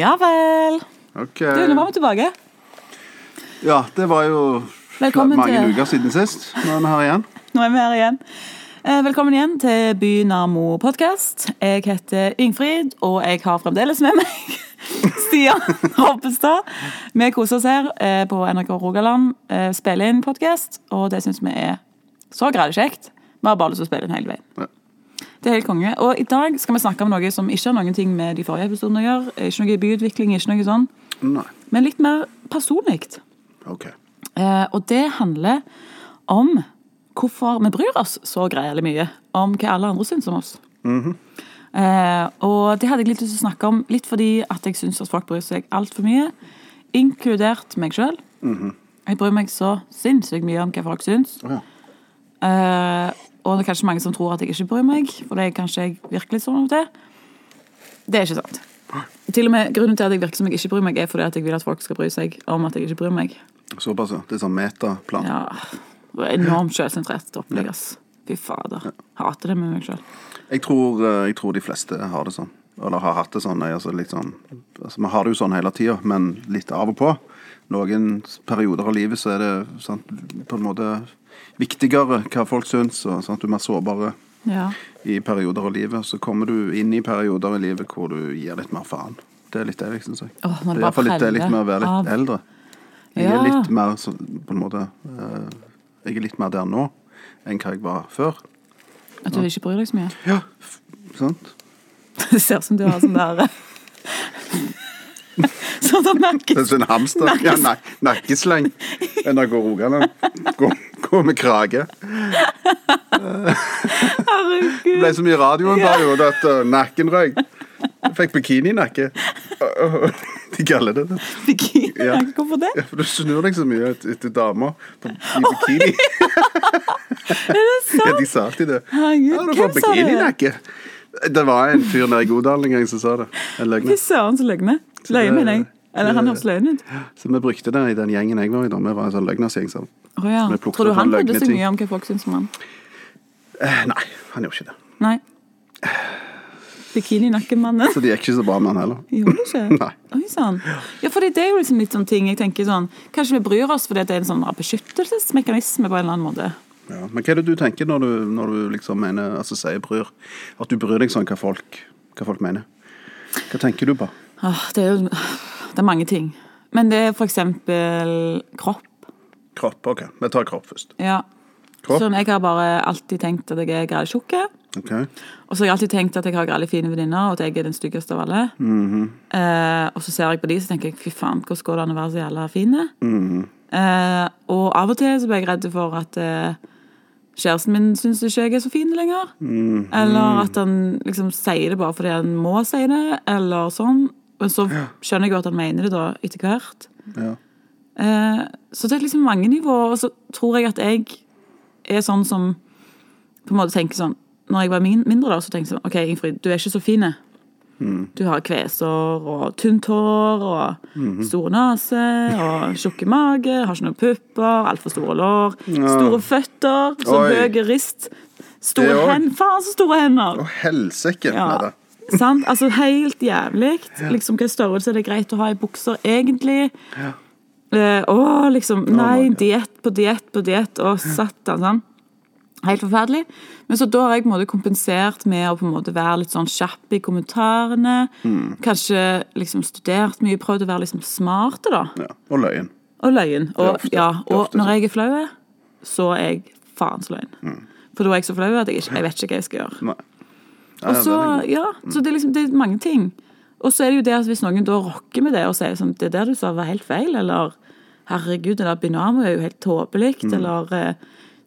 Ja vel. Ok. Du, nå var vi tilbake. Ja, det var jo Velkommen mange til- uker siden sist. Nå er vi her igjen. Nå er vi her igjen. Eh, Velkommen igjen til Bynamo podkast. Jeg heter Yngfrid, og jeg har fremdeles med meg Stian Hoppestad. Vi koser oss her eh, på NRK Rogaland. eh, Spiller inn podkast, og det syns vi er så gradekjekt. Vi har bare lyst til å spille inn hele veien. Ja. Det er helt konge. Og i dag skal vi snakke om noe som ikke har noen ting med de forrige episodene å gjøre. Ikke noe byutvikling, ikke noe sånn. Nei. Men litt mer personlig. Ok. Eh, og det handler om hvorfor vi bryr oss så greielig mye om hva alle andre syns om oss. Mhm. eh, og det hadde jeg litt lyst til å snakke om, litt fordi at jeg syns at folk bryr seg altfor mye, inkludert meg sjøl. Jeg bryr meg så sinnssykt mye om hva folk syns. Mhm. Å ja. Eh, og det er kanskje mange som tror at jeg ikke bryr meg, for det er kanskje jeg virker litt sånn av og til. Det er ikke sant. Til og med Grunnen til at jeg virker som jeg ikke bryr meg, er fordi at jeg vil at folk skal bry seg om at jeg ikke bryr meg. Såpass, ja. Det er sånn metaplan. Ja, det var enormt selvsentrert opplegg, ass. Fy fader. Hater det med meg sjøl. Jeg, tror, eh, jeg tror de fleste har det sånn. Eller har hatt det sånn. nei, Altså litt sånn altså, vi har det jo sånn hele tida, men litt av og på. Noen perioder av livet så er det sant, på en måte viktigere hva folk syns. Og, sant, du er mer sårbare Ja. i perioder av livet. Så kommer du inn i perioder i livet hvor du gir litt mer faen. Det er litt det, jeg syns jeg. Åh, når det det er bare iallfall litt det preller litt med å være litt av. eldre. Jeg Ja. er litt mer sånn, på en måte eh, Jeg er litt mer der nå enn hva jeg var før. At du ikke bryr deg så mye. Ja. Sant? Det ser ut som du har sånn der Sånn der Det er nakkes... sånn hamster. Ja, nei, nakkesleng. NRK Rogaland. Gå, gå med krage. Det Herregud. ble så mye radio en periode at eh, nakken røyk. Jeg Fikk bikininakke. De kaller det det. Bikini. Ja. Hvorfor det? Ja, for du snur deg så mye et- etter damer på- i bikini. Ja, de sa alltid det. Herregud, ja, du hvem får sa det? bikininakke. Det var en fyr nede i Godalen en gang som sa det. En Fy løgner. søren, så løgne. det- Løye, mener jeg. Eller han høres løyen ut. Så vi brukte det i den gjengen jeg var i. da. Vi var en sånn løgnersgjeng. Så. Å ja. Vi plukket Tror du opp han noen brydde løgne seg ting. mye om hva folk syns om han? Eh, nei, han gjorde ikke det. Nei. Bikininakkenmannen. Så det gikk ikke så bra med han heller. Gjorde du ikke? Nei. Oi sann. Ja, for det er jo liksom litt sånn ting jeg tenker sånn Kanskje vi bryr oss fordi det er en sånn beskyttelsesmekanisme på en eller annen måte. Ja. Men hva er det du tenker når du, når du liksom mener, altså sier bryr? At du bryr deg sånn hva folk, hva folk mener? Hva tenker du på? Åh, Ah, det er jo Det er mange ting. Men det er for eksempel kropp. Kropp, ok. Vi tar kropp først. Ja. Kropp? Sånn, jeg har bare alltid tenkt at jeg er grei tjukk. Ok. Og så har jeg alltid tenkt at jeg har grei fine venninner, og at jeg er den styggeste av alle. eh, og så ser jeg på de, så tenker jeg fy faen, hvordan går det an å være så jævla fine? Eh, og av og til så blir jeg redd for at eh, kjæresten min syns ikke jeg er så fin lenger. Mm. Eller at han liksom sier det bare fordi han må si det, eller sånn. Men så skjønner jeg jo at han mener det da, etter hvert. Ja. Eh, Så det er liksom mange nivåer. Og så tror jeg at jeg er sånn som på en måte tenker sånn Når jeg var min, mindre, da, så tenkte jeg sånn OK, Ingfrid, du er ikke så fin. eh. Mm. Du har kveser og tynt hår og Mhm. stor nese og tjukke mage, har ikke noen pupper, altfor store lår, store føtter, så Oi. høy rist, store Det òg. hender Faen, så store hender! Å, helsike! Ja. med det. Sant? Altså helt jævlig. Liksom, hva størrelse er det greit å ha i bukser, egentlig? Eh, å, liksom Nei, God. diett på diett på diett. Å, satan. Sånn. Helt forferdelig. Men så da har jeg på en måte kompensert med å på en måte være litt sånn kjapp i kommentarene. Kanskje liksom studert mye, prøvd å være liksom smart, da. Ja. Og løyen. Og løyen. Og, ofte- ja, det er og ofte når jeg er flau, så er jeg faens løgn. For da er jeg så flau at jeg, ikke, jeg vet ikke hva jeg skal gjøre. Mm. Nei. Og Ja, så, den er ja, så det, er liksom, det er mange ting. Og så er det jo det at hvis noen da rokker med det og sier sånn, det der du sa var helt feil, eller herregud, det der Binamo er jo helt tåpelig, Mm. eller eh,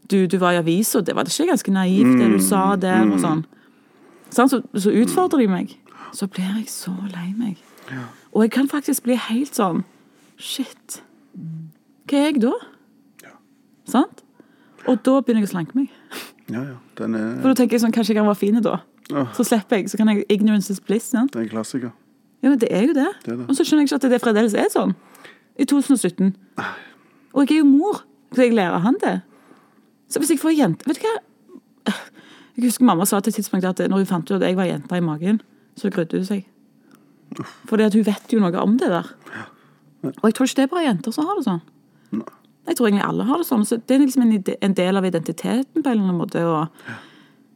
du, du var i avisa, det var det ikke ganske naivt Mm. det du sa der, og sånn. Sånn, Så, så utfordrer de meg. Så blir jeg så lei meg. Og jeg kan faktisk bli helt sånn Shit. Hva er jeg da? Sant? Og da begynner jeg å slanke meg. Ja, ja. Den er, For da tenker jeg sånn, kanskje jeg kan være fin da. Åh. Så slipper jeg, så kan jeg ignorance is bliss. Sant? den er en klassiker. Ja, men det er jo det. Det er det. Og så skjønner jeg ikke at det fremdeles er sånn. I 2017. Og jeg er jo mor, så jeg lærer han det. Så hvis jeg får jente, vet du hva? Jeg husker mamma sa til et tidspunkt at når hun fant ut at jeg var jenta i magen, så grudde hun seg. Fordi at hun vet jo noe om det der. Og jeg tror ikke det er bare jenter som har det sånn. Jeg tror egentlig alle har det sånn. Så det er liksom en, ide- en del av identiteten på en eller annen måte. Og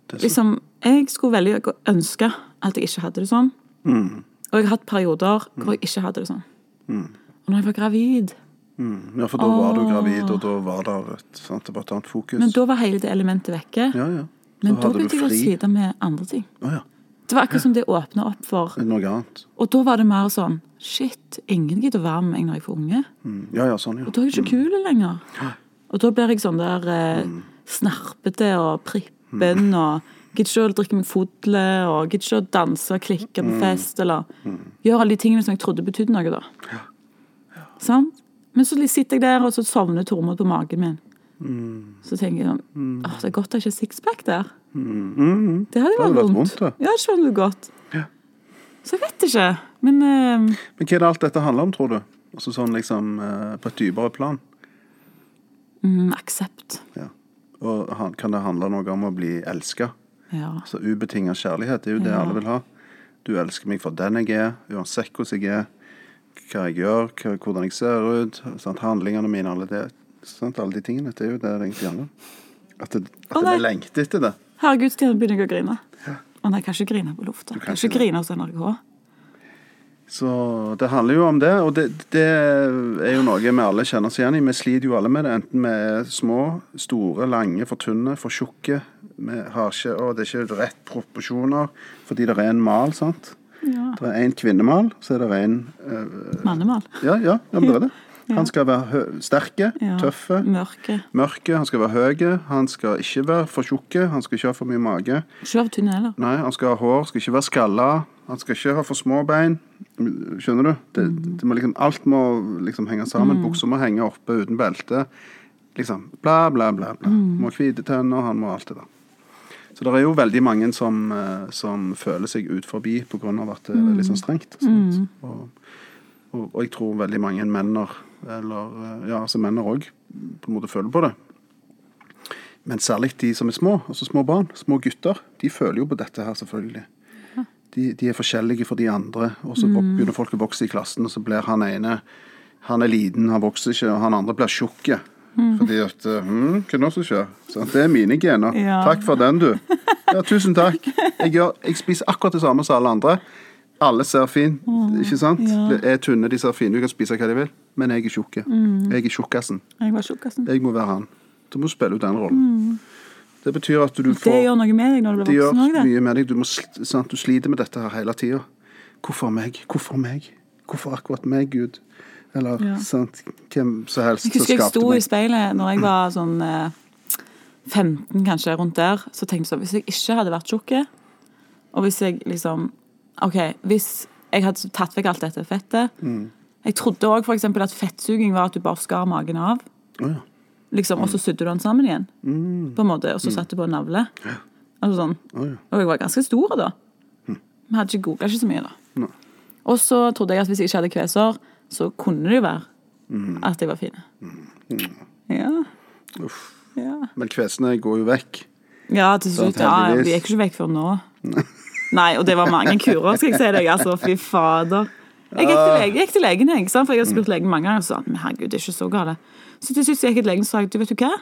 Det er sånn. liksom, jeg skulle veldig gå- ønske at jeg ikke hadde det sånn. Mm. Og jeg har hatt perioder hvor jeg ikke hadde det sånn. Og når jeg var gravid Mm. Ja, for da var du gravid, og da var det et, sant, det var et annet fokus. Men da var hele det elementet vekke. ja, ja. Men da hadde du begynte jeg å fri. slite med andre ting. Å ja. Det var akkurat som det åpna opp for. Noe annet. Og da var det mer sånn Shit, ingen gidder å være med meg når jeg får unge. Mm. Ja, ja, sånn, ja. Og da er jeg ikke kul lenger. Og da blir jeg sånn der eh, snerpete og prippen og Gidder ikke å drikke meg fodle og gidder ikke å danse og klikke på fest eller gjøre alle de tingene som jeg trodde betydde noe, da. Sant? Men så sitter jeg der, og så sovner Tormod på magen min. Så tenker jeg sånn Åh, det er godt det ikke er sixpack der. Mm. Det hadde jo hadde vært vært vondt. vondt, det. Ja, det hadde vært godt. Ja. Så jeg vet ikke. Men eh, Men hva er det alt dette handler om, tror du? Altså sånn liksom eh, på et dypere plan. mm, aksept. Ja. Og han- kan det handle noe om å bli elska? Ja. Altså ubetinga kjærlighet det er jo det Ja. alle vil ha. Du elsker meg for den jeg er, uansett hvordan jeg er, hva jeg gjør, hva, hvordan jeg ser ut, sant? handlingene mine, alle det. Sant? Alle de tingene. Det er jo det det egentlig handler om. At det- Å, at nei. vi lengter etter det. Herregud, Stine begynner jeg å grine. Å nei, jeg kan ikke grine på lufta. Jeg kan kan ikke ikke det. grine hos NRK. Så det handler jo om det, og det, det er jo noe vi alle kjenner oss igjen i. Vi sliter jo alle med det, enten vi er små, store, lange, for tynne, for tjukke. Vi har ikke, å, det er ikke rett proporsjoner, fordi det er en mal, sant? Ja. Det er en kvinnemal, så er det en øh, Mannemal. ja, ja, ja, men det er det. Han skal være hø sterke, Ja. tøffe, Mørke. mørke, han skal være høy, han skal ikke være for tjukke, han skal ikke ha for mye mage. Ikke av tynn heller. Nei, han skal ha hår, skal ikke være skalla. Han skal ikke ha for små bein. Skjønner du? Det, det må liksom, alt må liksom henge sammen. Buksa må henge oppe uten belte. Liksom bla, bla, bla. bla. Må ha hvite tenner, han må alt det der. Så det er jo veldig mange som, eh, som føler seg ut forbi pga. at det er veldig sånn strengt. sant? Og, og, og jeg tror veldig mange menner, eller eh, ja, altså menner òg, på en måte føler på det. Men særlig de som er små, altså små barn, små gutter, de føler jo på dette her, selvfølgelig. De, de er forskjellige fra de andre, og så Mm. vok- begynner folk å vokse i klassen, og så blir han ene Han er liten, han vokser ikke, og han andre blir tjukk. Mm. Fordi at hm, Hva er det som skjer? Så det er mine gener. Ja. Takk for den, du. Ja, tusen takk. Jeg, gjør, jeg spiser akkurat det samme som alle andre. Alle ser fin, ikke sant? ja. Jeg er tynne, de ser fine ut, de kan spise hva de vil. Men jeg er tjukk. Mm. Jeg er tjukkasen. Jeg var tjukkasen. Jeg må være han. Du må spille ut den rollen. Det betyr at du Mm. får Det gjør noe med deg når du det blir gjør voksen òg, det. mye med deg. Du, må, sl- sant? du sliter med dette her hele tida. Hvorfor meg? Hvorfor meg? Hvorfor akkurat meg, Gud? Eller Ja. sant? hvem som helst Jeg husker jeg sto i meg. speilet når jeg var sånn eh, 15, kanskje, rundt der. Så tenkte jeg sånn Hvis jeg ikke hadde vært tjukk, og hvis jeg liksom OK, hvis jeg hadde tatt vekk alt dette fettet Mm. Jeg trodde òg f.eks. at fettsuging var at du bare skar magen av. Å, ja. Mm. liksom, og så sydde du den sammen igjen. På en måte, Og så satte du på en navle. Altså sånn. Å, ja. Hm. Og jeg var ganske stor da. Vi hadde ikke googla ikke så mye da. Nei. Og så trodde jeg at hvis jeg ikke hadde kveser, så kunne det jo være Mm. at jeg var fin. Ja. Uff. ja. Men kvesene går jo vekk. Ja, til slutt. Ja, ja, heldigvis. vi gikk ikke vekk før nå. Nei, og det var mange kurer, skal jeg si deg. Altså, fy fader. Jeg gikk til, lege, jeg gikk til legen, jeg, sant? for jeg har spurt legen mange ganger. og sa, men herregud, det er ikke så gale. Så til slutt så gikk jeg til legen og sa jeg, du vet du hva?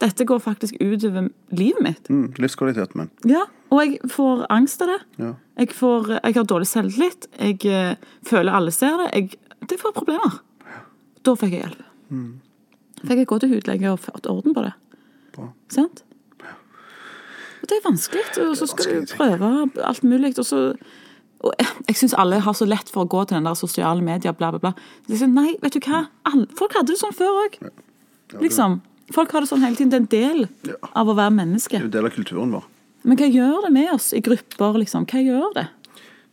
Dette går faktisk utover livet mitt. Mm, livskvaliteten min. Ja, Og jeg får angst av det. Ja. Jeg, får, jeg har dårlig selvtillit. Jeg eh, føler alle ser det. Jeg, det får problemer. Da fikk jeg hjelp. Mm. Fikk jeg gå til hudlege og fått orden på det. Bra. Sant? Og det er vanskelig, og så skal du vanskelige ting. prøve alt mulig. Og så og jeg, jeg syns alle har så lett for å gå til den der sosiale media, bla, bla, bla. Det er sånn, nei, vet du hva? Alle, folk hadde det sånn før òg. Liksom. Folk har det sånn hele tiden. Det er en del Ja. av å være menneske. Det er jo del av kulturen vår. Men hva gjør det med oss i grupper, liksom? Hva gjør det?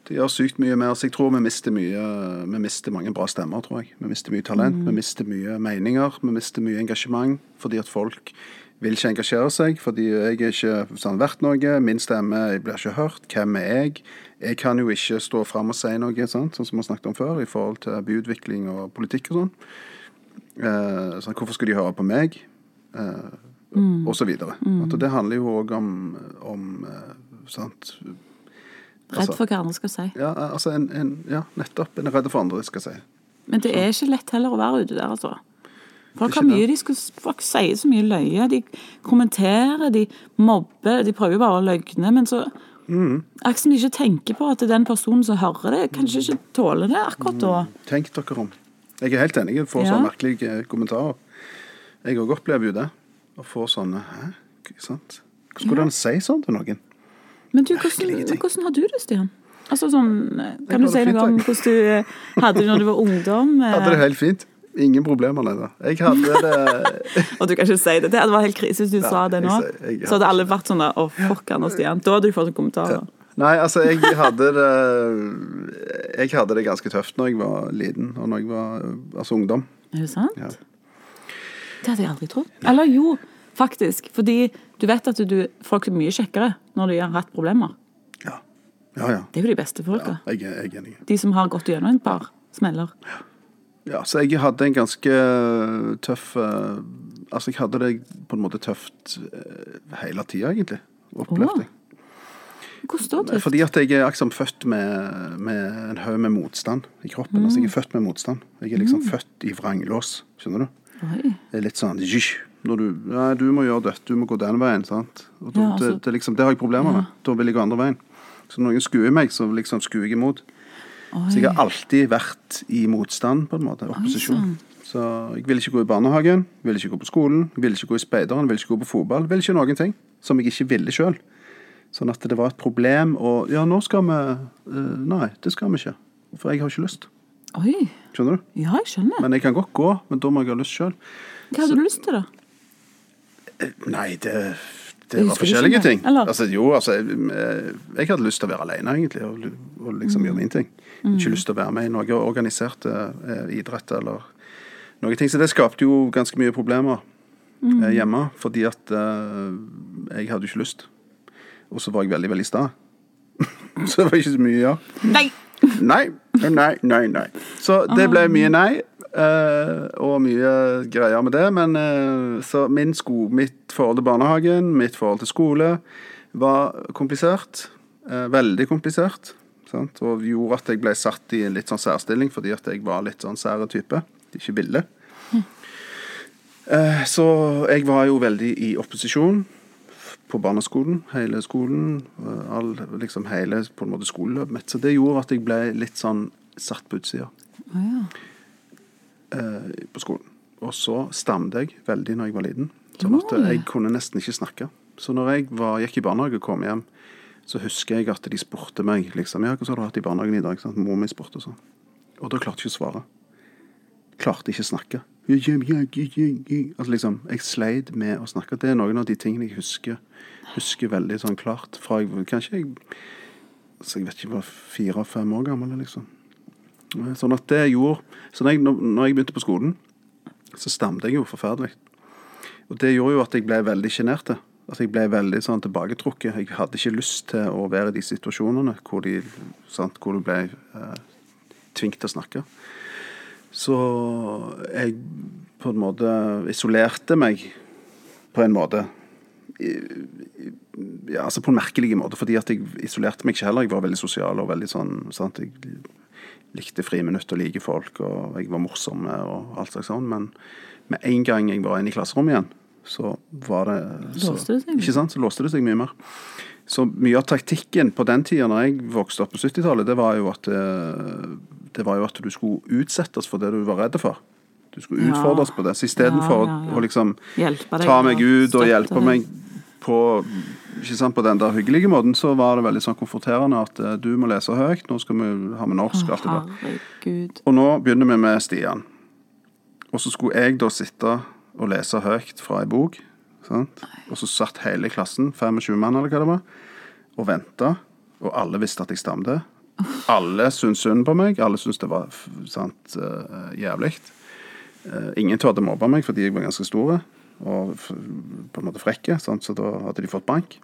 Det gjør sykt mye med oss. Jeg tror vi mister mye Vi mister mange bra stemmer, tror jeg. Vi mister mye talent, vi mister mye meninger, vi mister mye engasjement. Fordi at folk vil ikke engasjere seg, fordi jeg er ikke sånn, verdt noe. Min stemme jeg blir ikke hørt. Hvem er jeg? Jeg kan jo ikke stå fram og si noe, sant? sånn som vi snakket om før, i forhold til byutvikling og politikk og sånn. Eh, sånn hvorfor skal de høre på meg? Eh, Og så videre. At det handler jo òg om, om eh, sant? Redd for hva andre skal si. Ja, altså en, en, ja, nettopp. En er redd for andre, skal jeg si. Men det er ikke lett heller å være ute der, altså. Folk, Det er har ikke mye, de skal, folk sier så mye løye. De kommenterer, de mobber. De prøver jo bare å løgne, men så Mm. Akkurat som de ikke tenker på at den personen som hører det, kanskje ikke tåler det akkurat da. Tenk dere om. Jeg er helt enig. Jeg får Ja. sånne merkelige eh, kommentarer. Jeg òg opplever jo det. Og får sånne Hæ? Ikke sant? Hvordan går det an å si sånn til noen? Men du, hvordan, Merkelige ting. men hvordan har du det, Stian? Altså sånn, eh, Kan du har si det fint, noe om jeg. hvordan du eh, hadde det når du var ungdom? eh, Jeg hadde det helt fint. Ingen problemer, nei da. Jeg hadde det Eh, Og du kan ikke si det. Det hadde vært helt krise hvis du sa det jeg nå. sier- jeg så hadde har alle vært sånn der, å fuck han og Stian. Da hadde du fått kommentarer. Nei, altså, jeg hadde det Jeg hadde det ganske tøft når jeg var liten, og når jeg var altså ungdom. Er det sant? Ja. Det hadde jeg aldri trodd. Eller jo, faktisk. Fordi du vet at du, folk er mye kjekkere når de har hatt problemer. Ja, ja. ja. Det er jo de beste folka. Jeg, er- jeg er enig. De som har gått gjennom et par smeller. Ja, så jeg hadde en ganske tøff eh, Altså, jeg hadde det på en måte tøft eh, hele tida, egentlig. Åh, Opplevde jeg. Hvordan står det? Fordi at jeg er liksom født med, med en haug med motstand i kroppen. Altså, jeg er født med motstand. Jeg er liksom født i vranglås, skjønner du? Oi. Det er litt sånn «Jysj», når du, nei, du må gjøre dette, du må gå den veien. sant? Og da, Ja, altså- det, det, er liksom, det har jeg problemer med. Da vil jeg gå andre veien. Så når noen skuer meg, så liksom skuer jeg imot. Så jeg har alltid vært i motstand, på en måte. Opposisjon. sånn. Så jeg ville ikke gå i barnehagen, ville ikke gå på skolen, ville ikke gå i speideren, ville ikke gå på fotball. Ville ikke noen ting som jeg ikke ville sjøl. Sånn at det var et problem, og ja, nå skal vi eh, Nei, det skal vi ikke. For jeg har ikke lyst. Oi. Skjønner du? Ja, jeg skjønner. Men jeg kan godt gå, men da må jeg ha lyst sjøl. Hva hadde du lyst til, da? Nei, det, det Jeg var husker ikke forskjellige det, ting. eller? Altså, jo, altså, jeg, eh, jeg hadde lyst til å være alene, egentlig, og, og Mm. liksom gjøre min ting. Ikke lyst til å være med i noe organisert eh, idrett eller noen ting. Så det skapte jo ganske mye problemer eh, Mm. hjemme, fordi at eh, jeg hadde jo ikke lyst. Og så var jeg veldig, veldig sta. så det var ikke så mye ja. Nei! Nei, nei, nei, nei. Så det ble mye nei, eh, og mye greier med det. Men eh, så min sko, mitt forhold til barnehagen, mitt forhold til skole, var komplisert. eh, veldig komplisert. Sant? Og gjorde at jeg ble satt i en litt sånn særstilling, fordi at jeg var litt sånn sære type. Ikke ville. Eh, Så jeg var jo veldig i opposisjon på barneskolen, hele skolen, eh, all, liksom hele på en måte skoleløpet mitt. Så det gjorde at jeg ble litt sånn satt på utsida Å ja. eh, på skolen. Og så stammet jeg veldig når jeg var liten, sånn at Gjorde du? jeg kunne nesten ikke snakke. Så når jeg var, gikk i barnehage og kom hjem, så husker jeg at de spurte meg liksom, ja, hva har du hatt i barnehagen i dag? Sånn, Mor mi spurte og sånn. Og da klarte jeg ikke å svare. Klarte ikke å snakke. Ja, ja, ja, ja, ja, ja. Altså liksom, Jeg sleit med å snakke. Det er noen av de tingene jeg husker husker veldig sånn klart. fra jeg, Kanskje jeg altså jeg vet ikke, jeg var fire-fem år gammel. liksom. Sånn at det gjorde Så når jeg, når jeg begynte på skolen, så stammet jeg jo forferdelig. Og det gjorde jo at jeg ble veldig sjenert. At jeg ble veldig sånn tilbaketrukket. Jeg hadde ikke lyst til å være i de situasjonene hvor, de, sant, hvor du ble eh, tvunget til å snakke. Så jeg på en måte isolerte meg på en måte. I- i- Ja, altså på en merkelig måte, fordi at jeg isolerte meg ikke heller. Jeg var veldig sosial og veldig sånn sant? Jeg likte friminutt og like folk, og jeg var morsom og alt slags sånn. Men med en gang jeg var inne i klasserommet igjen, så var det så, Låste det seg? Ikke sant? Så låste det seg mye mer. Så mye av taktikken på den tida når jeg vokste opp på 70-tallet, det var jo at eh, det var jo at du skulle utsettes for det du var redd for. Du skulle Ja. utfordres på det. Så istedenfor Ja, ja, ja. å liksom Hjelpe deg ta og meg ut og støtte hjelpe deg. meg på, ikke sant, på den der hyggelige måten, så var det veldig sånn konfronterende at eh, du må lese høyt, nå skal vi ha med norsk. alt det der. Herregud. Og nå begynner vi med Stian. Og så skulle jeg da sitte og lese høyt fra ei bok. Sant? Og så satt hele klassen, 25 mann eller hva det var, og venta. Og alle visste at jeg stamte. Alle syntes synd på meg. Alle syntes det var f- sant, eh, jævlig. Eh, ingen turte mobbe meg fordi jeg var ganske stor og f på en måte frekk, sant? så da hadde de fått bank.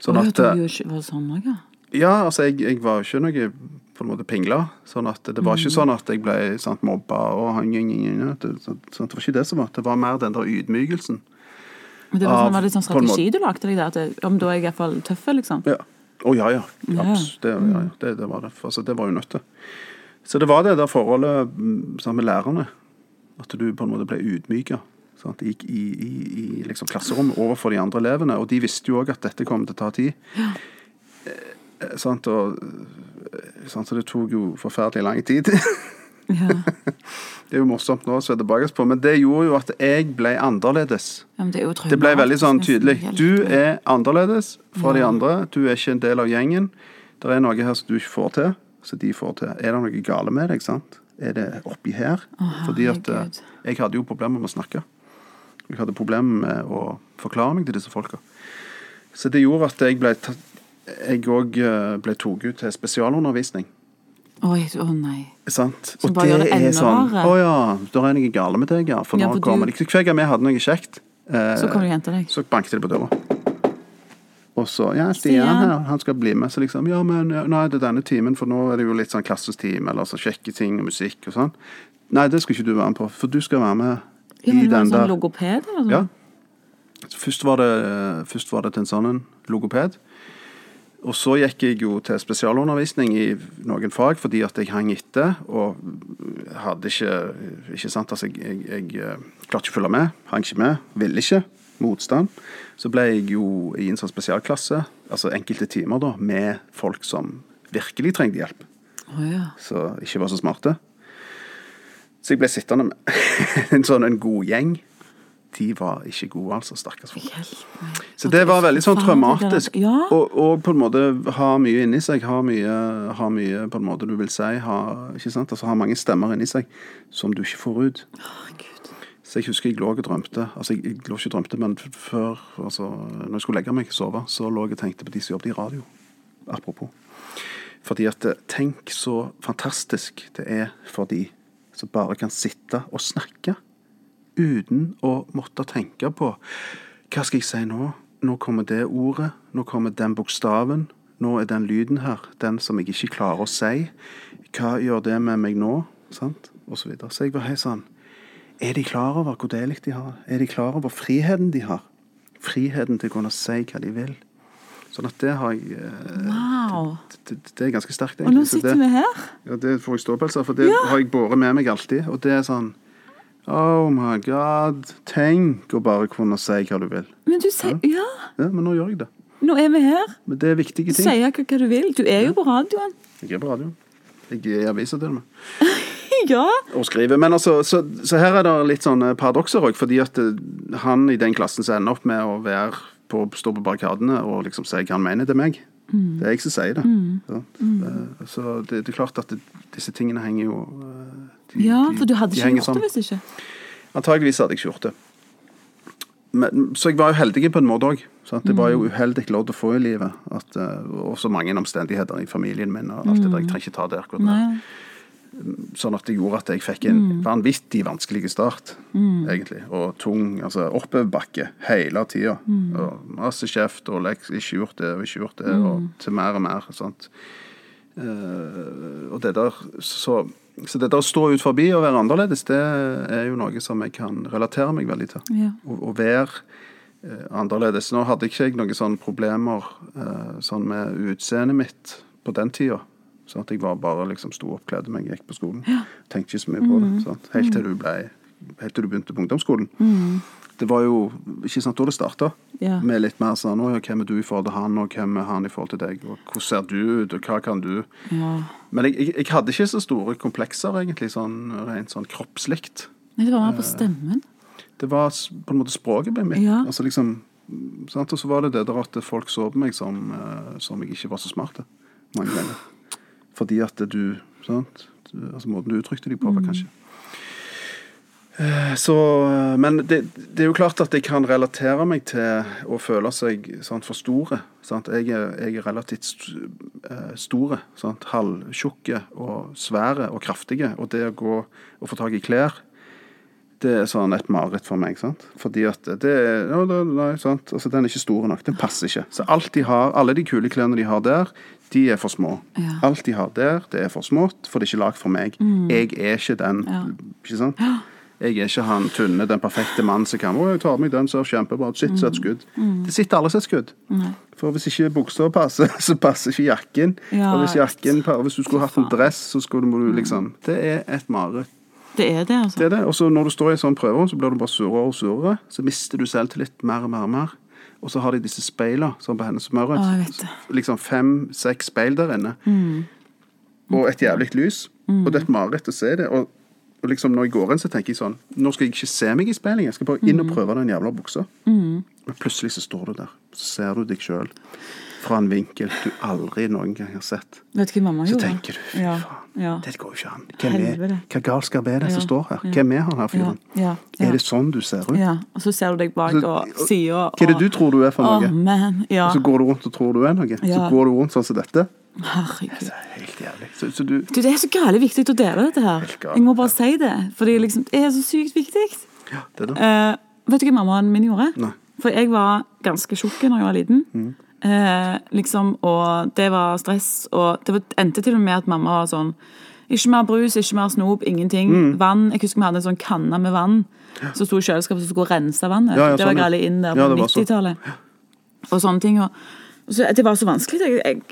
Sånn Å, ja, at, du eh, gjorde ikke- var det sånn også, ja. ja, altså jeg, jeg var jo ikke noe på en måte pingla. Sånn at det var ikke sånn at jeg ble sant, mobba og han gjeng, gjeng, gjeng, det, så- så det var ikke det som var. Det var mer den der ydmykelsen. Men det var, sånn, Av- var det sånn på en måte- strategi du lagde deg der? At det, om da er jeg iallfall tøff, liksom? Ja. Å ja, ja. Abs. Det, ja, ja. Det, det var det. Altså, det var jo nødt til. Så det var det der forholdet mm, sammen med lærerne. At du på en måte ble sånn ydmyka sant, i, i, i, i liksom klasserommet overfor de andre elevene. Og de visste jo òg at dette kom til å ta tid. Eh, sant, og, eh, sant, så det tok jo forferdelig lang tid. Ja. det er jo morsomt nå å se tilbake på, men det gjorde jo at jeg ble annerledes. Ja, men det, er jo Det ble veldig sånn traumatisk, tydelig. nesten helt. Du er annerledes fra de andre. Du er ikke en del av gjengen. Det er noe her som du ikke får til, som de får til. Er det noe gale med deg, sant? Er det oppi her? Fordi at eh, herregud. jeg hadde jo problemer med å snakke. Jeg hadde problemer med å forklare meg til disse folka. Så det gjorde at jeg ble tatt jeg òg ble tatt ut til spesialundervisning. Oi, å nei. Sant? Som bare gjør det enda verre. sånn, Å ja, da er det noe gale med deg, ja. For Ja, nå for du- kommer de Hver gang vi hadde noe kjekt, eh, Så kommer de og henter deg. så banket det på døra. Og så Ja, Stian. Stian her, han skal bli med. Så liksom Ja, men ja, Nei, det er denne timen, for nå er det jo litt sånn klassestime, eller så sjekke ting og musikk og sånn. Nei, det skal ikke du være med på, for du skal være med Ja, i men det var den en sånn der logoped eller noe? Ja. Så Først var det, først var det til en sånn en logoped. Og så gikk jeg jo til spesialundervisning i noen fag fordi at jeg hang etter og hadde ikke Ikke sant, altså, jeg, jeg, jeg eh, klarte ikke å følge med. Hang ikke med. Ville ikke. Motstand. Så ble jeg jo i en sånn spesialklasse, altså enkelte timer, da, med folk som virkelig trengte hjelp. Å, ja. Så ikke var så smarte. Så jeg ble sittende med en sånn en god gjeng. De var ikke gode, altså. Stakkars folk. Hjelp meg. Så det var veldig sånn traumatisk. Ja. Og, og på en måte ha mye inni seg. Ha mye, ha mye på en måte du vil si. Ha, ikke sant? Altså, ha mange stemmer inni seg som du ikke får ut. Herregud. Så jeg husker jeg lå og drømte. Altså, jeg, jeg lå ikke og drømte, men f- før, altså, når jeg skulle legge meg og sove, så lå jeg og tenkte på de som jobbet i radio. Apropos. Fordi at eh, tenk så fantastisk det er for de som bare kan sitte og snakke uten å måtte tenke på hva skal jeg si nå? Nå kommer det ordet. Nå kommer den bokstaven. Nå er den lyden her. Den som jeg ikke klarer å si. Hva gjør det med meg nå? Sant? Og så videre. Så jeg var helt sånn er de klar over hvor deilig de har? Er de klar over friheten de har? Friheten til å kunne si hva de vil. Sånn at det har jeg eh, Wow. Det, det er ganske sterkt, Og nå egentlig. Så sitter det, vi her. ja, det får jeg ståpels av, for det har jeg båret med meg alltid. Og det er sånn Oh my God. Tenk å bare kunne si hva du vil. Men du sier Ja, Ja, men nå gjør jeg det. nå er vi her. Men det er viktige Du ting. sier hva, hva du vil. Du er jo på radioen. Jeg er på radioen. Jeg er i avisa til og med. Ja. å skrive. Men altså, så, så her er det litt sånne paradokser òg, fordi at eh, han i den klassen som ender opp med å være på, stå på barrikadene og liksom si hva han mener til meg. Mm. Det er jeg som sier det. sant? Eh, Så det, det er klart at det, disse tingene henger jo eh, de- ja, de- for du hadde de ikke henger gjort det sammen. hvis ikke. Antageligvis hadde jeg ikke gjort det. Men, så jeg var jo heldig på en måte òg. Det var Mm. jo uheldig lodd å få i livet. At, eh, og så mange omstendigheter i familien min og alt det der. Jeg trenger ikke ta det akkurat nå. Nei. Sånn at det gjorde at jeg fikk en vanvittig vanskelig start, egentlig. Og tung altså oppoverbakke hele tida. Og masse kjeft og leks, ikke gjort det og ikke gjort det, og til mer og mer. Sant? Eh, og det der så, så det der å stå ut forbi og være annerledes, det er jo noe som jeg kan relatere meg veldig til. Ja. Å å være eh, annerledes. Nå hadde ikke jeg noen sånne problemer eh, sånn med utseendet mitt på den tida. Sånn at jeg var bare liksom sto oppkledd men jeg gikk på skolen. Tenkte ikke så mye på det. Mm. Sant? Helt til du ble Helt til du begynte på ungdomsskolen. Det var jo ikke sant da det starta, Mm. Ja. med litt mer sånn «Å, ja, Hvem er du i forhold til han, og hvem er han i forhold til deg, og hvordan ser du ut, og hva kan du? ja. Men jeg, jeg, jeg hadde ikke så store komplekser, egentlig, sånn rent sånn kroppslikt. Nei, det var mer på Eh. stemmen. Det var s- på en måte språket ble mitt. Ja. Altså liksom, mm, sant? Og så var det det der at folk så på meg som, eh, som jeg ikke var så smart til. Mange ganger. Fordi at du sant? Du- Altså Måten du uttrykte deg på, var kanskje Eh, så, eh, men det, det er jo klart at jeg kan relatere meg til å føle seg sant, for store. Sant? Jeg, er, jeg er relativt st eh, store. sant? Halvtjukke og svære og kraftige. Og det å gå og få tak i klær det er sånn et mareritt for meg. sant? Fordi at det er, ja, det, nei, sant? Altså, Den er ikke stor nok. Den passer ikke. Så alt de har, alle de kule klærne de har der, de er for små. Ja. Mm. Alt de har der, det er for smått, for det er ikke lagd for meg. Jeg er ikke den. Ja. Ikke sant? Jeg er ikke han tynne, den perfekte mann som kan 'Å, jeg tar meg den, ser kjempebra ut.' Mm. Shit, så et skudd. Det sitter alle som et skudd. For hvis ikke buksa passer, så passer ikke jakken. Ja, og hvis jakken pa- hvis du skulle hatt en faen. Mm. dress, så skulle må du liksom Det er et mareritt. Det er det, altså. Det er det. Og så når du står i en sånn prøve, så blir du bare surere og surere. Så mister du selvtillit mer og mer og mer. Og så har de disse speilene, sånn på hennes smørøt. Å, jeg vet det. Mm. Liksom fem-seks speil der inne. Og et jævlig lys. Og det er et mareritt å se det. Og, og liksom når jeg går inn, så tenker jeg sånn Nå skal jeg ikke se meg i speiling, jeg skal bare inn Mm. og prøve den jævla buksa. Men plutselig så står du der. Så ser du deg sjøl fra en vinkel du aldri noen gang har sett. Vet du hva mamma Så gjorde? tenker du fy ja. faen, Ja. det går jo ikke an. Hvem er, Helvete. hva galskap er det som Ja, står her? ja. Hvem er han her fyren? Ja, ja, Er ja. det sånn du ser ut? ja. Og så ser du deg bak Så- og sida og Hva er det du tror du er for Å, noe? man. Ja. Og så går du rundt og tror du er noe. Så Ja. går du rundt sånn som dette. Herregud. Det er helt jævlig. Så, så du, Du, det er så gærent viktig å dele dette her. Helt galt, Jeg må bare si det. Fordi liksom, det er så sykt viktig. ja, det er det. Eh, vet du hva mammaen min gjorde? Nei. Mm. For jeg var ganske tjukk da jeg var liten. Eh, liksom, og det var stress. Og det var, endte til og med at mamma var sånn Ikke mer brus, ikke mer snop, ingenting. Mm. Vann. Jeg husker vi hadde en sånn kanne med vann som sto i kjøleskapet som skulle rense vannet. Ja, ja, det var sånn, ja. galt inn der på Ja, det var sånn. 90-tallet. Og sånne ting. Og, så det var så vanskelig. Jeg, jeg,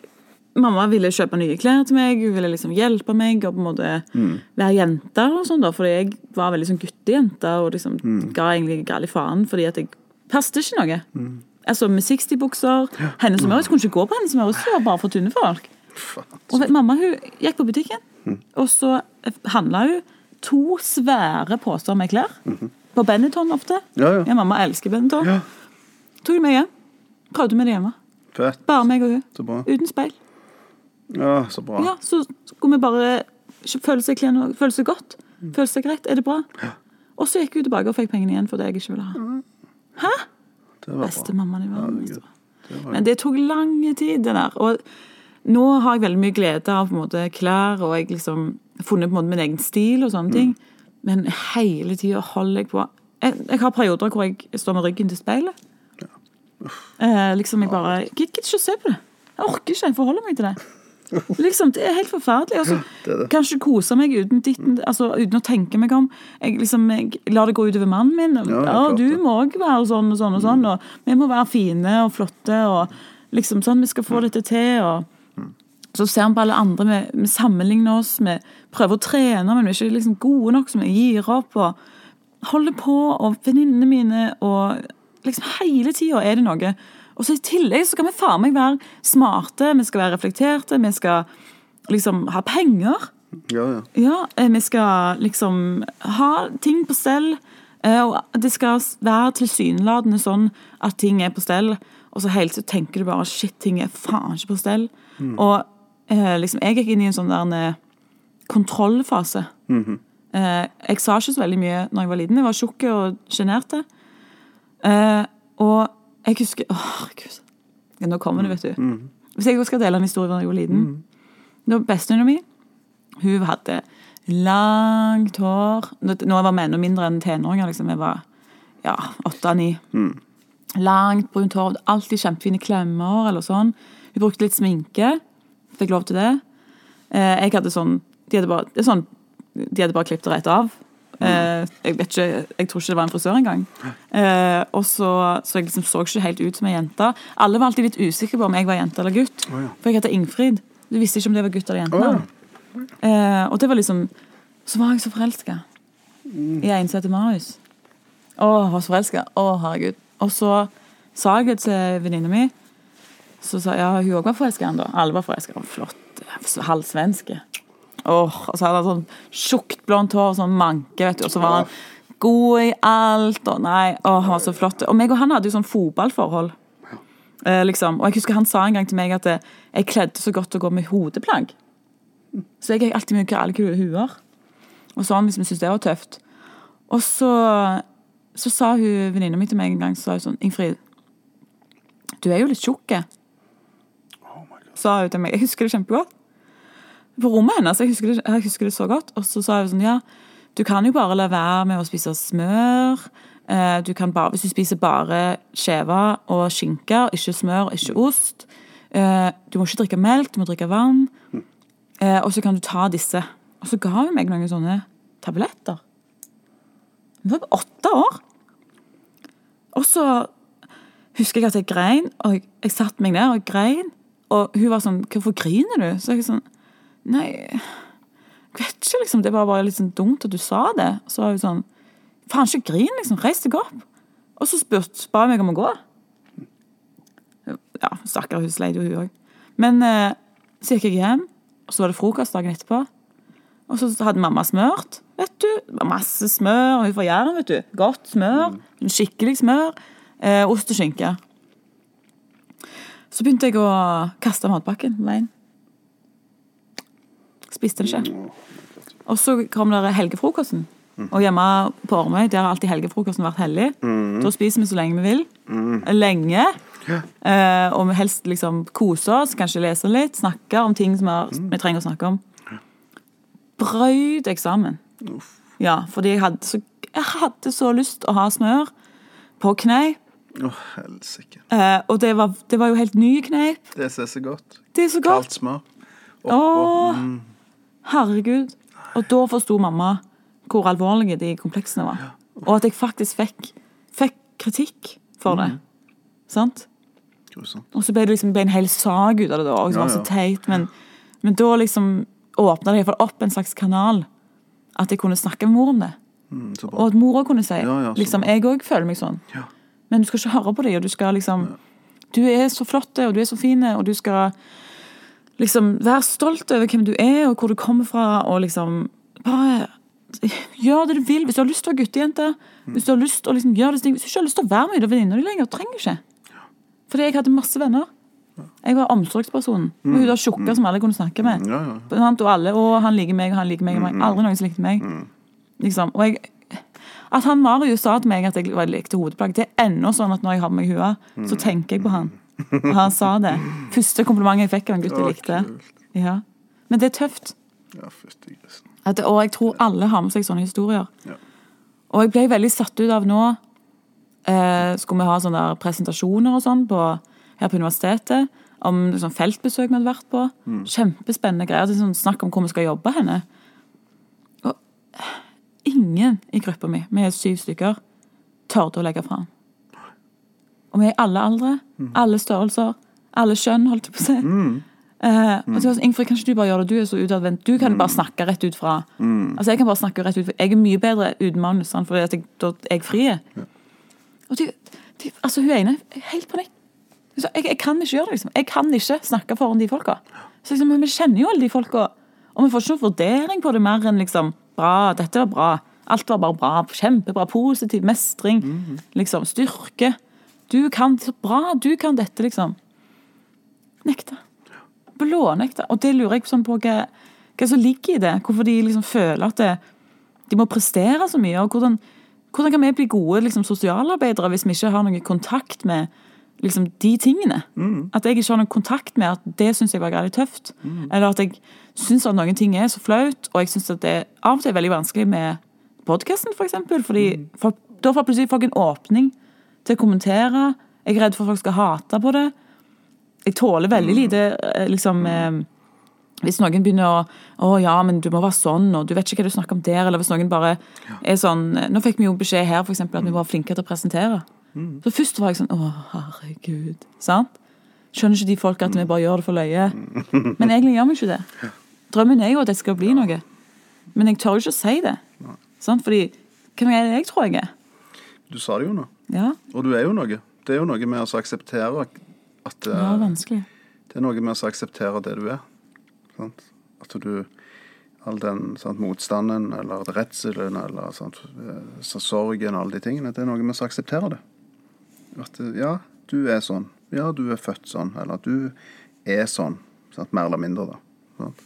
mamma ville kjøpe nye klær til meg, hun ville liksom hjelpe meg og på en måte Mm. være jente og sånn, da. Fordi jeg var veldig sånn guttejente og liksom Mm. ga egentlig gal i faen fordi at jeg passet ikke noe. Mm. Altså med 60-bukser. Hennes og Maurits kunne ikke gå på Hennes og Maurits, det var bare for tynne folk. Og vet- mamma hun gikk på butikken, Mm. og så handla hun to svære poser med klær. Mm-hmm. På Benetton ofte. Ja, ja. mamma elsker Benetton. Ja. Tok det med hjem. Prøvde med det hjemme. Fett. Bare meg og hun. Så bra. Uten speil. Ja, så bra. Ja, så skulle vi bare ikke føle seg klen og føle seg godt. Føle seg greit. Er det bra? Og så gikk hun tilbake og fikk pengene igjen for det jeg ikke ville ha. Det var Beste bra. mammaen i verden. Herregud. altså. Det var, Men det tok lang tid, det der. Og nå har jeg veldig mye glede av på en måte, klær, og jeg liksom har funnet på en måte min egen stil og Mm. sånne ting. Men hele tida holder jeg på jeg, jeg har perioder hvor jeg står med ryggen til speilet. Eh, liksom jeg bare Jeg gidder ikke å se på det. Jeg orker ikke, jeg forholder meg til det. Liksom, Det er helt forferdelig. Altså, det er det. Kanskje kose meg uten, ditten, altså, uten å tenke meg om. Jeg, liksom, jeg lar det gå utover mannen min. Ja, Ja, klart du det. Mm. må òg være sånn og sånn og sånn. Og vi må være fine og flotte og liksom sånn. Vi skal Mm. få dette til. og Så ser vi på alle andre, vi, vi sammenligner oss, vi prøver å trene, men vi er ikke liksom gode nok, så vi gir opp og holder på. Og venninnene mine og liksom hele tida er det noe. Og så i tillegg så skal vi faen meg være smarte, vi skal være reflekterte, vi skal liksom ha penger. ja, ja. Ja, eh, vi skal liksom ha ting på stell. eh, Og det skal s- være tilsynelatende sånn at ting er på stell, og så helt så tenker du bare shit, ting er faen ikke på stell. Og eh, liksom, jeg gikk inn i en sånn der eh, kontrollfase. Eh, jeg sa ikke så veldig mye når jeg var liten. Jeg var tjukk og sjenerte. Eh, og jeg husker Å, herregud. Ja, Nå kommer det, vet du. Hvis jeg skal dele en historie fra da jeg var liten Det var Bestevenninna mi hun hadde langt hår. Nå nå var vi enda mindre enn tenåringer. Liksom. Jeg var ja, åtte-ni. Mm. Langt, brunt hår. hadde Alltid kjempefine klemmer eller sånn. Hun brukte litt sminke. Fikk lov til det. Eh, jeg hadde sånn De hadde bare, det er sånn, de hadde bare klippet det rett av. Mm. Eh, jeg vet ikke, jeg tror ikke det var en frisør engang. Eh, og så, så jeg liksom så ikke helt ut som ei jente. Alle var alltid litt usikre på om jeg var jente eller gutt. Å, ja. For jeg heter Ingfrid. Du visste ikke om det var gutt eller jente. Å, ja. Eh, og det var liksom Så var jeg så forelska i en som heter Marius. Å, jeg var så forelska. Å, herregud. Og så sa jeg det til venninna mi. Så sa jeg, ja, hun òg var forelska i han da. Alle var forelska. Flott. Halvsvenske. Åh, og så hadde han sånn tjukt blondt hår, sånn manke, vet du. Og så var han god i alt, og nei, åh, han var så flott. Og meg og han hadde jo sånn fotballforhold. Eh, liksom. Og jeg husker han sa en gang til meg at eh, jeg kledde så godt å gå med hodeplagg. Så jeg gikk alltid med alle kule huer. Og sånn, hvis vi syntes det var tøft. Og så, så sa hun venninna mi til meg en gang så sa hun sånn Ingfrid, du er jo litt tjukk. eh. Oh my God. Sa hun til meg. Jeg husker det kjempegodt. På rommet hennes. Jeg husker det, jeg husker det så godt. Og så sa hun sånn Ja, du kan jo bare la være med å spise smør. Eh, Du kan bare, hvis du spiser bare skjeve og skinke, ikke smør, ikke ost eh, Du må ikke drikke melk, du må drikke vann. Eh, Og så kan du ta disse. Og så ga hun meg noen sånne tabletter. Hun var åtte år. Og så husker jeg at jeg grein, og jeg, jeg satte meg ned og grein. Og hun var sånn 'Hvorfor griner du?' Så jeg sånn Nei, jeg vet ikke, liksom. Det var bare litt sånn dumt at du sa det. Så var hun sånn Faen, ikke grin, liksom. Reis deg opp. Og så spurte, ba hun meg om å gå. Ja, stakkar, hun sleit jo, hun òg. Men eh, så gikk jeg hjem, og så var det frokost dagen etterpå. Og så hadde mamma smørt, vet du. Det var Masse smør, og hun fra Jæren, vet du. Godt smør. Skikkelig smør. Eh, ost og skinke. Så begynte jeg å kaste matpakken på veien. Spiste det ikke. Og så kom der helgefrokosten. Og hjemme på Ormøy der har alltid helgefrokosten vært hellig. Da spiser vi så lenge vi vil. Lenge. Eh, og vi helst liksom koser oss, kanskje leser litt, snakker om ting som vi, har, vi trenger å snakke om. Brøyd eksamen. Ja, fordi jeg hadde, så, jeg hadde så lyst å ha smør på kneip. Å, helsike. Eh, og det var, det var jo helt ny kneip. Det ser så godt. Det er så godt. Kaldt smør. Mm, Åh, herregud. Og da forsto mamma hvor alvorlige de kompleksene var. Og at jeg faktisk fikk, fikk kritikk for det. Sant? Grusomt. Og så ble det liksom ble en hel sag ut av det da, og som Ja, var så ja. teit. Men, men da liksom åpna det iallfall opp en slags kanal. At jeg kunne snakke med mor om det. Mm, så bra. Og at mora kunne si Ja, ja, så liksom, Jeg òg føler meg sånn. Ja. Men du skal ikke høre på dem, og du skal liksom Du er så flott, og du er så fin, og du skal liksom være stolt over hvem du er, og hvor du kommer fra, og liksom Bare gjør det du vil. Hvis du har lyst til å være guttejente, hvis du har lyst til å liksom gjøre disse tingene Hvis du ikke har lyst til å være med de venninnene dine lenger, du trenger ikke. Fordi jeg hadde masse venner. Jeg var omsorgspersonen. Og Hun der tjukke som alle kunne snakke med. Ja, ja. Sant? Og alle, å, han liker meg, og han liker meg, og meg. Aldri noen som likte meg. Mm. Liksom. Og jeg, at han Marius sa til meg at jeg var- likte hodeplagg, det er ennå sånn at når jeg har på meg hua, så Mm. tenker jeg på han. Og han sa det. Første komplimentet jeg fikk av en gutt jeg Å, likte. kult. Ja. Men det er tøft. Ja, fytti grisen. At, det- og jeg tror alle har med seg sånne historier. Ja. Og jeg ble veldig satt ut av nå eh, Skulle vi ha sånne der presentasjoner og sånn på, her på universitetet om sånn feltbesøk vi hadde vært på. Kjempespennende greier. Det er sånn snakk om hvor vi skal jobbe henne. Og ingen i gruppa mi, vi er syv stykker, tørde å legge fram. Og vi er i alle aldre, alle størrelser, alle kjønn, holdt jeg på å si. Eh, og så var jeg sånn, Ingfrid, kanskje du bare gjør det, du er så utadvendt. Du kan bare snakke rett ut fra. Altså, Jeg kan bare snakke rett ut, jeg er mye bedre uten manus, sant, fordi at jeg, da er jeg fri. Og de, de, altså, hun ene er helt panikk. Hun sa, Jeg, jeg kan ikke gjøre det, liksom. Jeg kan ikke snakke foran de folka. Så liksom, men Vi kjenner jo alle de folka, og vi får ikke noen vurdering på det mer enn liksom Bra, dette var bra. Alt var bare bra. Kjempebra. Positiv mestring. Liksom. Styrke. Du kan så bra. Du kan dette, liksom. Nekta. Blånekta. Og det lurer jeg sånn på hva, hva som ligger i det. Hvorfor de liksom føler at det, de må prestere så mye. og Hvordan, hvordan kan vi bli gode liksom, sosialarbeidere hvis vi ikke har noen kontakt med liksom, de tingene? At jeg ikke har noen kontakt med at det syns jeg var veldig tøft. Eller at jeg syns at noen ting er så flaut, og jeg syns at det av og til er veldig vanskelig med podkasten, for eksempel. Fordi folk, da får plutselig folk en åpning til å kommentere. Jeg er redd for at folk skal hate på det. Jeg tåler veldig lite eh, liksom eh, hvis noen begynner å Å ja, men du må være sånn, og du vet ikke hva du snakker om der. Eller hvis noen bare er sånn Nå fikk vi jo beskjed her, for eksempel, at vi var flinke til å presentere. Så først var jeg sånn Å, herregud. Sant? Skjønner ikke de folk at vi bare gjør det for løye? Men egentlig gjør vi ikke det. Drømmen er jo at det skal bli noe. Men jeg tør jo ikke å si det. Sant? Fordi hvem er det jeg tror jeg er? Du sa det jo nå. Ja, Og du er jo noe. Det er jo noe med å så akseptere at at, det var eh, vanskelig. Det er noe med å så akseptere det du er. Sant? At du All den sant, motstanden eller redselen eller sant, eh, så sorgen og alle de tingene, det er noe med å så akseptere det. At eh, ja, du er sånn. Ja, du er født sånn. Eller du er sånn. Sant? Mer eller mindre, da. Sant?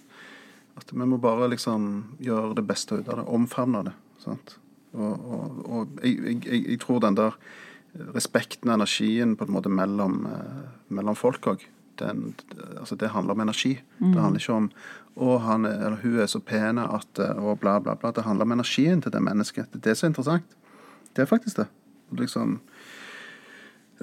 At vi må bare liksom gjøre det beste ut av det. Omfavne det. Sant? Og, og, og jeg, jeg, jeg- jeg tror den der respekten og energien på en måte mellom, eh, mellom folk òg den, altså Det handler om energi. Det handler ikke om 'Å, han er, eller hun er så pen at eh», Og bla, bla, bla. Det handler om energien til det mennesket. Det er det som er interessant. Det er faktisk det. Og Liksom,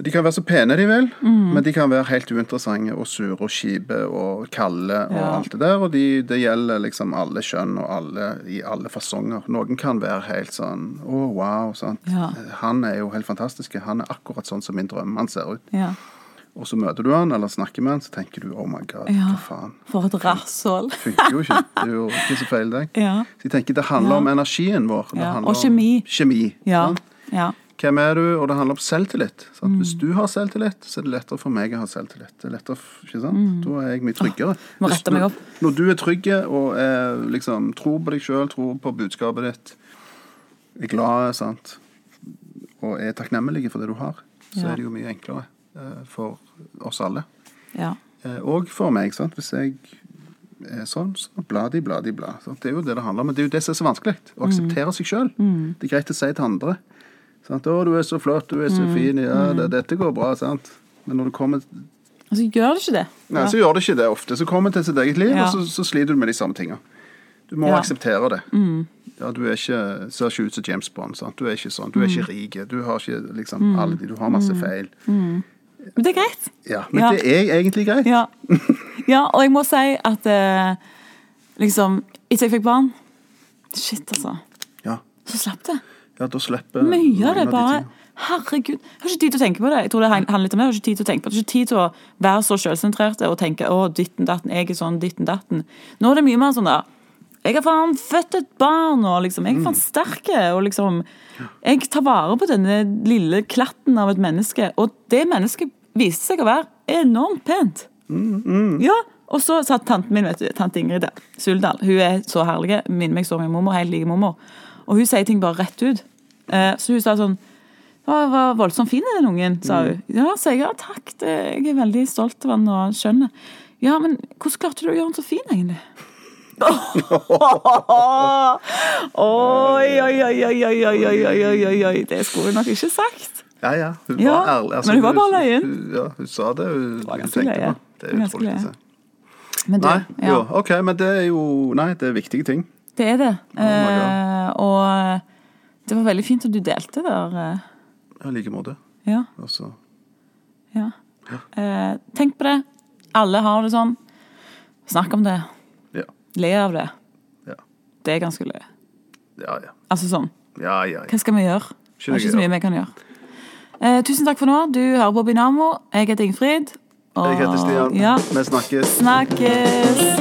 De kan være så pene de vil, Mm. men de kan være helt uinteressante og sure og kjipe og kalde og Ja. alt det der. Og de, det gjelder liksom alle kjønn og alle, i alle fasonger. Noen kan være helt sånn Å, wow. Sant? Ja. Han er jo helt fantastisk. Han er akkurat sånn som min drøm. Han ser ut. Ja. Og så møter du han eller snakker med han, så tenker du Oh my God, Ja. hva faen. For et rasshål. Funker jo ikke. Det er jo ikke så feil deg. Ja. Så jeg tenker det handler Ja. om energien vår. Det Ja, handler og om kjemi. kjemi Ja. sant? ja. Hvem er du? Og det handler om selvtillit. Mm. Sant? Hvis du har selvtillit, så er det lettere for meg å ha selvtillit. Det er lettere, f- ikke sant? Da er jeg mye tryggere. Mm. Ah, må Hvis- rette meg opp. Når, når du er trygg og er, liksom, tror på deg sjøl, tror på budskapet ditt, er glad sant? og er takknemlig for det du har, så Ja. er det jo mye enklere eh, for oss alle. ja. Eh, Og for meg, sant? hvis jeg er sånn, så bladi, bladi, bla. Sant? Det er jo det det handler om. Men det er jo det som er så vanskelig. Mm. Å akseptere seg sjøl. Det er greit å si til andre. Sant? 'Å, du er så flott. Du er så Mm. fin. Ja, det, dette går bra.' sant? Men når du kommer Og så Altså, gjør det ikke det. Nei, så gjør det ikke det ofte. Så kommer en til sitt eget liv, Ja. og så, så sliter du med de samme tinga. Du må Ja. Mm. akseptere det. Ja, du er ikke, ser ikke ut som James Bond. Sant? Du er ikke sånn. Du Mm. er ikke rik. Du har ikke liksom alle de Du har masse feil. Men det er greit. Ja, men Mm. Ja. det er egentlig greit. Ja. ja, og jeg må si at eh, liksom Etter jeg fikk barn Shit, altså. Ja. Så slapp det. Ja, da slipper Mye av noen det de bare tingene. Herregud. Jeg har ikke tid til å tenke på det. Jeg tror det han- handler litt om det. Jeg har ikke tid til å tenke på det. Jeg har ikke tid til å være så selvsentrert og tenke å, ditten datten, jeg er sånn, ditten datten. Nå er det mye mer sånn der Jeg har faen født et barn, og liksom Jeg er faen sterk, og liksom Jeg tar vare på denne lille klatten av et menneske, og det mennesket viste seg å være enormt pent. Ja, og så satt tanten min, vet du, tante Ingrid der, Suldal, hun er så herlig, minner meg så mye om mormor, helt like mormor, og hun sier ting bare rett ut. Eh, Så hun sa sånn, «Å, var voldsomt fin er den ungen, Mm. sa hun. Ja, sa jeg, ja takk, det, jeg er veldig stolt av han og skjønner. Ja, men hvordan klarte du å gjøre han så fin egentlig? Oi, oi, oi, oi, oi, oi, oi, oi, oi, oi, det skulle hun nok ikke sagt. Ja, ja. Hun Ja, var ærlig. Altså, men hun var bare løyen. hun, ja, hun sa det hun, var hun ganske tenkte løye. på. Det Hun er var utrolig ganske å løye. se. Men du, Nei, ja. jo, OK, men det er jo Nei, det er viktige ting. Det er det. my eh, og det var veldig fint at du delte der. eh. Ja, I like måte. Ja, Altså, ja. Eh, tenk på det. Alle har det sånn. Snakk om det. ja. Le av det. Ja, Det er ganske løye. ja. ja. Altså sånn. Ja, ja, ja. Hva skal vi gjøre? Det er Ikke ikke så noe å mye vi kan gjøre. Eh, tusen takk for nå. Du hører på Binamo. Jeg heter Ingfrid. og- Jeg heter Stian. Ja. Vi snakkes. Snakkes.